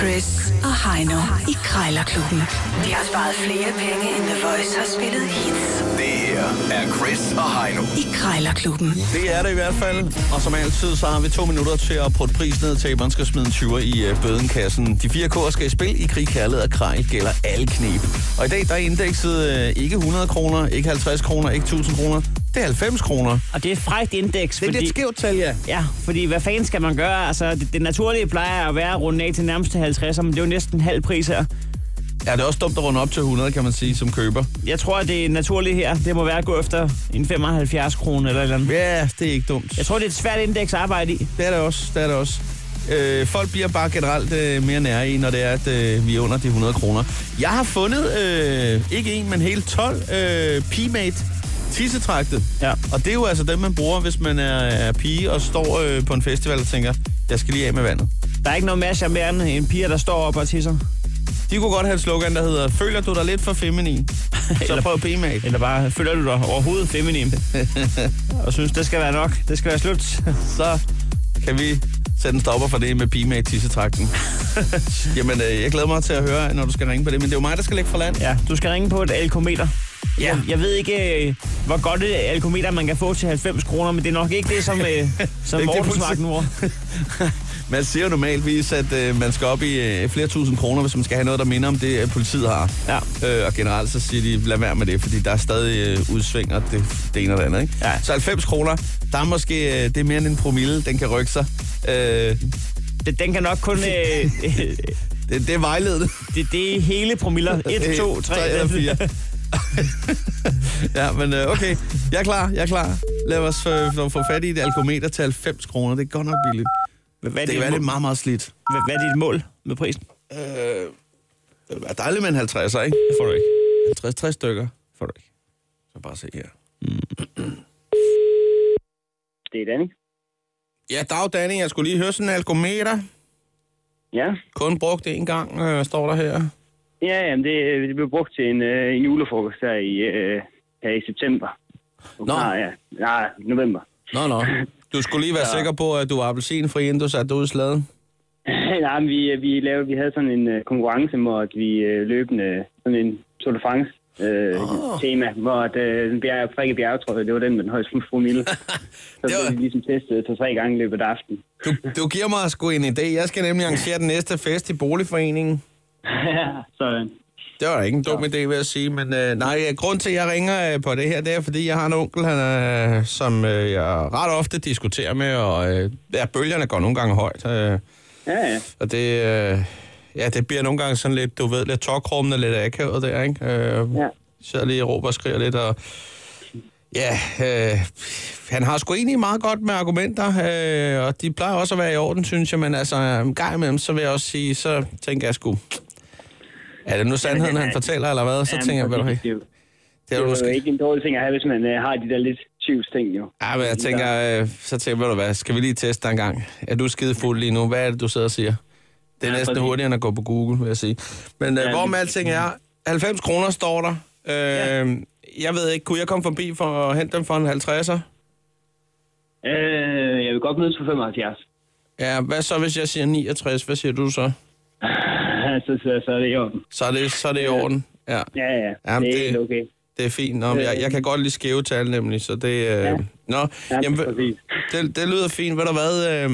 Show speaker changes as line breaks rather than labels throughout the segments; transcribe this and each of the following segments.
Chris og Heino i Krejlerklubben. De har sparet flere penge, end The Voice har spillet hits
Det her er Chris og Heino.
i Krejlerklubben.
Det er det i hvert fald. Og som altid, så har vi to minutter til at putte prisen ned til, at man skal smide en 20'er i øh, bødenkassen. De fire K'er skal i spil i krig, kærlighed og krejl gælder alle knep. Og i dag, der er indekset øh, ikke 100 kroner, ikke 50 kroner, ikke 1000 kroner. Det er 90 kroner.
Og det er et frækt indeks,
Det er
fordi...
lidt skævt tal, ja.
Ja, fordi hvad fanden skal man gøre? Altså, det, det naturlige plejer at være at runde af til nærmest til 50, men det er jo næsten halv pris her.
Ja, det er også dumt at runde op til 100, kan man sige, som køber.
Jeg tror, at det naturlige her, det må være at gå efter en 75 kroner eller et eller andet.
Ja, det er ikke dumt.
Jeg tror, det er et svært indeks at arbejde i.
Det er det også, det er det også. Øh, folk bliver bare generelt øh, mere nære i, når det er, at øh, vi er under de 100 kroner. Jeg har fundet, øh, ikke en, men hele 12 øh, P-Mate tissetragte.
Ja.
Og det er jo altså dem, man bruger, hvis man er, er pige og står øh, på en festival og tænker, jeg skal lige af med vandet.
Der er ikke noget mere charmerende end piger, der står op og tisser.
De kunne godt have et slogan, der hedder, føler du dig lidt for feminin? Så
Eller-
prøv P-Mate.
Eller bare, føler du dig overhovedet feminin? og synes, det skal være nok. Det skal være slut.
Så kan vi sætte en stopper for det med P-Mate tissetrakten. Jamen, øh, jeg glæder mig til at høre, når du skal ringe på det, men det er jo mig, der skal lægge for land.
Ja, du skal ringe på et alkometer.
Ja.
Jeg, jeg ved ikke, øh, hvor godt et alkometer man kan få til 90 kroner, men det er nok ikke det, som, øh, som
Det er ikke det,
Morten
hun
smagte nu.
Man siger jo normalvis, at øh, man skal op i øh, flere tusind kroner, hvis man skal have noget, der minder om det, øh, politiet har.
Ja.
Øh, og generelt så siger de, lad være med det, fordi der er stadig øh, udsving, og det, det ene og det andet. Ikke?
Ja.
Så 90 kroner, der er måske, øh, det er mere end en promille, den kan rykke sig. Øh, det,
Det, den kan nok kun... Øh, øh,
det er vejledende.
det, det er hele promiller. 1, 2, 3
eller 4. ja, men øh, okay, jeg er klar, jeg er klar. Lad os øh, få fat i et alkometer til 90 kroner, det er godt nok billigt.
Hvad
Det kan
er
være,
dit
det er
mål-
meget, meget slidt.
hvad- hvad er dit mål med prisen?
Øh, det ville være dejligt med en 50'er, ikke?
Det får du ikke.
50-60 stykker får du ikke. Så bare se her.
Det er Danny.
Ja, dag Danny, jeg skulle lige høre sådan en alkometer.
Ja,
Kun brugt én gang, øh, står der her.
ja jamen det, øh, det blev brugt til en, øh, en julefrokost her i, øh, her i september.
Nå.
Nej, ja. Nej, november.
Nå, nå. Du skulle lige være ja. sikker på, at du var appelsinfri, inden du satte dig ud i sladen.
Nej, men vi, øh, vi, lavede, vi havde sådan en øh, konkurrence, hvor at vi øh, løbende sådan en Tour de France øh,
Åh.
oh. tema, hvor at, øh, den bjerg, Frikke Bjergetrøje, det var den med den højeste promille. Så
Det
det
var-
var... vi ligesom testet to-tre gange i løbet af aftenen.
Du, du giver mig sgu en idé. Jeg skal nemlig arrangere den næste fest i boligforeningen.
sådan.
Det var da ikke en dum idé, vil jeg sige, men øh, nej, øh, grund til, at jeg ringer øh, på det her, det er, fordi jeg har en onkel, han, øh, som øh, jeg ret ofte diskuterer med, og øh, ja, bølgerne går nogle gange højt. Øh,
Ja, ja.
Og det, øh, ja, det bliver nogle gange sådan lidt, du ved, lidt tokrummende, lidt akavet der, ikke? Øh, ja.
Ja.
Så lige og råber og skriger lidt, og ja, øh, han har sgu egentlig meget godt med argumenter, øh, og de plejer også at være i orden, synes jeg, men altså, en gang imellem, så vil jeg også sige, så tænker jeg sgu, er det nu sandheden,
den er-
han fortæller, eller hvad? Så
Jamen,
tænker jeg, vel,
det,
det
det, det,
er jo
det er jo
måske...
ikke en dårlig ting at have, hvis man øh, har de der lidt tvivlsting, jo.
Ja, men jeg tænker, øh, så tænker jeg, ved du hvad, skal vi lige teste dig en gang? Er du skide fuld lige nu? Hvad er det, du sidder og siger? Det er
Ja,
næsten
præcis.
hurtigere end at gå på Google, vil jeg sige. Men øh,
Ja,
hvor
lige
med alting er, 90 kroner står der. Øh, Jeg ved ikke, kunne jeg komme forbi for at hente dem for en 50'er?
Øh, jeg vil godt mødes for 75.
Ja, hvad så, hvis jeg siger 69? Hvad siger du så?
så, Altså, så, så er det i orden.
Så er det, så er det
Øh,
i orden. Ja,
Ja, ja.
Jamen,
det er
det-
helt okay.
det er fint. Nå, men jeg, jeg kan godt lide skæve tal, nemlig, så det... Øh, nå,
Øh. Ja,
jamen,
Jamen, præcis.
Det, det lyder fint. Ved du hvad? Øh,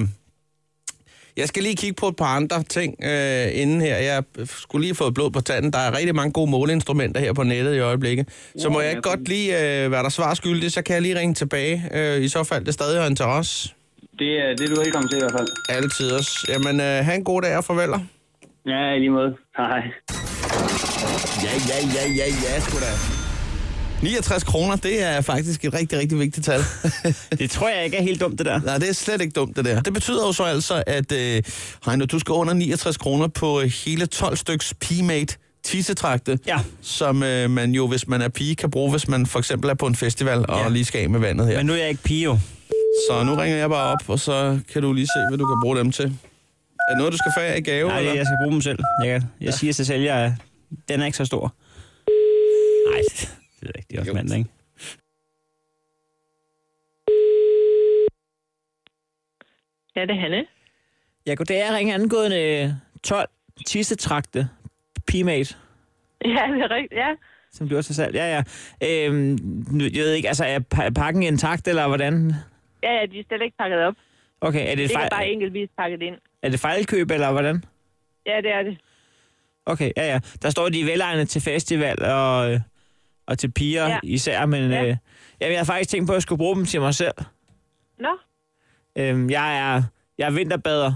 jeg skal lige kigge på et par andre ting øh, inden her. Jeg skulle lige have fået blod på tanden. Der er rigtig mange gode måleinstrumenter her på nettet i øjeblikket. Så må jeg ikke godt lige øh, være der svar skyldig, så kan jeg lige ringe tilbage. Øh, I så fald det stadig er en til os.
Det, er, det er du velkommen til i hvert fald.
Altid os. Jamen, øh, have en god dag og farveler.
Ja, i lige måde. Hej, hej.
Ja, ja, ja, ja, ja, sgu da. 69 kroner, det er faktisk et rigtig, rigtig vigtigt tal.
Det tror jeg ikke er helt dumt, det der.
Nej, det er slet ikke dumt, det der. Det betyder jo så altså, at øh, Heino, du skal under 69 kroner på øh, hele 12 styks P-Mate tissetragte,
Ja.
som øh, man jo, hvis man er pige, kan bruge, hvis man for eksempel er på en festival og
Ja.
lige skal af med vandet her.
Men
Men...
nu er jeg ikke pige, jo.
Så nu ringer jeg bare op, og så kan du lige se, hvad du kan bruge dem til. Er det noget, du skal få af i gave?
Nej,
eller?
jeg skal bruge dem selv. Jeg, kan- jeg siger til sælger, at den er ikke så stor. Nej, det ved jeg ikke. Det er også
Jo.
mandag, ikke?
Ja, det er Hanne.
Ja, goddag. Jeg ringer angående øh, 12 tissetrakte, primate,
Ja, det er rigtigt, ja.
som du også har sat. Ja, ja. Øhm, nu- jeg ved ikke, altså er pa- pakken intakt, eller hvordan?
Ja, ja, de er slet ikke pakket op.
Okay, er det, et
Det er bare
fejl,
enkeltvis pakket ind.
er det fejlkøb, eller hvordan?
Ja, det er det.
Okay, ja, ja. Der står, de er velegnet til festival og, øh, og til piger ja.
Ja.
især, men ja.
Ja.
øh, jamen, jeg har faktisk tænkt på, at jeg skulle bruge dem til mig selv.
Nå,
Øhm, jeg, er, jeg er vinterbader,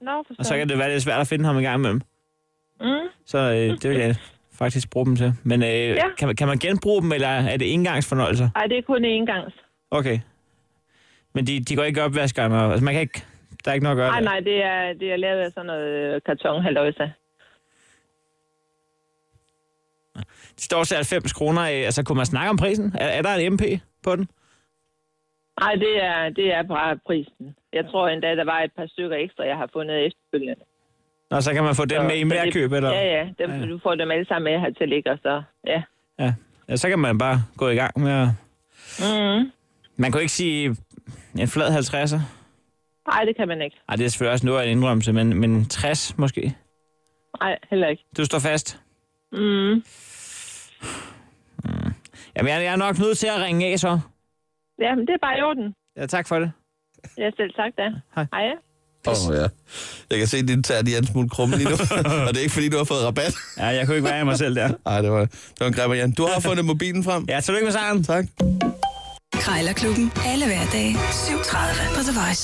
nå, forstår.
og så kan det være lidt svært at finde ham en gang imellem.
Mm.
Så øh, det vil jeg faktisk bruge dem til. Men øh, ja. kan, man- kan man genbruge dem, eller er det engangsfornøjelser?
Ej, det er kun én gang.
Okay. Men de, de går ikke i opvaskeren, og, altså man kan ikke, der er ikke noget at gøre.
Nej,
der.
nej, det er, det er lavet af sådan noget øh, kartonhaløjse.
De står til 90 kroner, øh, altså kunne man snakke om prisen? Er, er der en MP på den?
Nej, det er, det er bare prisen. Jeg tror endda, der var et par stykker ekstra, jeg har fundet efterfølgende.
Nå, så kan man få den med i
Så- så det-
merkøb, eller?
Ja, ja, dem,
Ja, ja.
ja. du får dem alle sammen med her til ligger, så ja.
ja. Ja, så kan man bare gå i gang med at...
Mm.
Man kunne ikke sige en flad 50'er.
Nej, det kan man ikke.
Ej, det er selvfølgelig også noget af en indrømmelse, men, men 60 måske.
Nej, heller ikke.
Du står fast.
Mm.
Jamen, jeg, jeg er nok nødt til at ringe af, så.
Ja, men det er bare i orden.
Ja, tak for det.
Ja, selv tak da.
Hej.
Hej.
Åh, oh, ja. Jeg kan se, at din tær de er en smule krumme lige nu. og det er ikke, fordi du har fået rabat.
Ja, jeg kunne ikke være i mig selv der.
Nej, det var, det var en grebber, Jan. Du har fundet mobilen frem.
Ja, tillykke med sejren.
Tak.
Krejlerklubben. Alle hverdage. 7.30 på The Voice.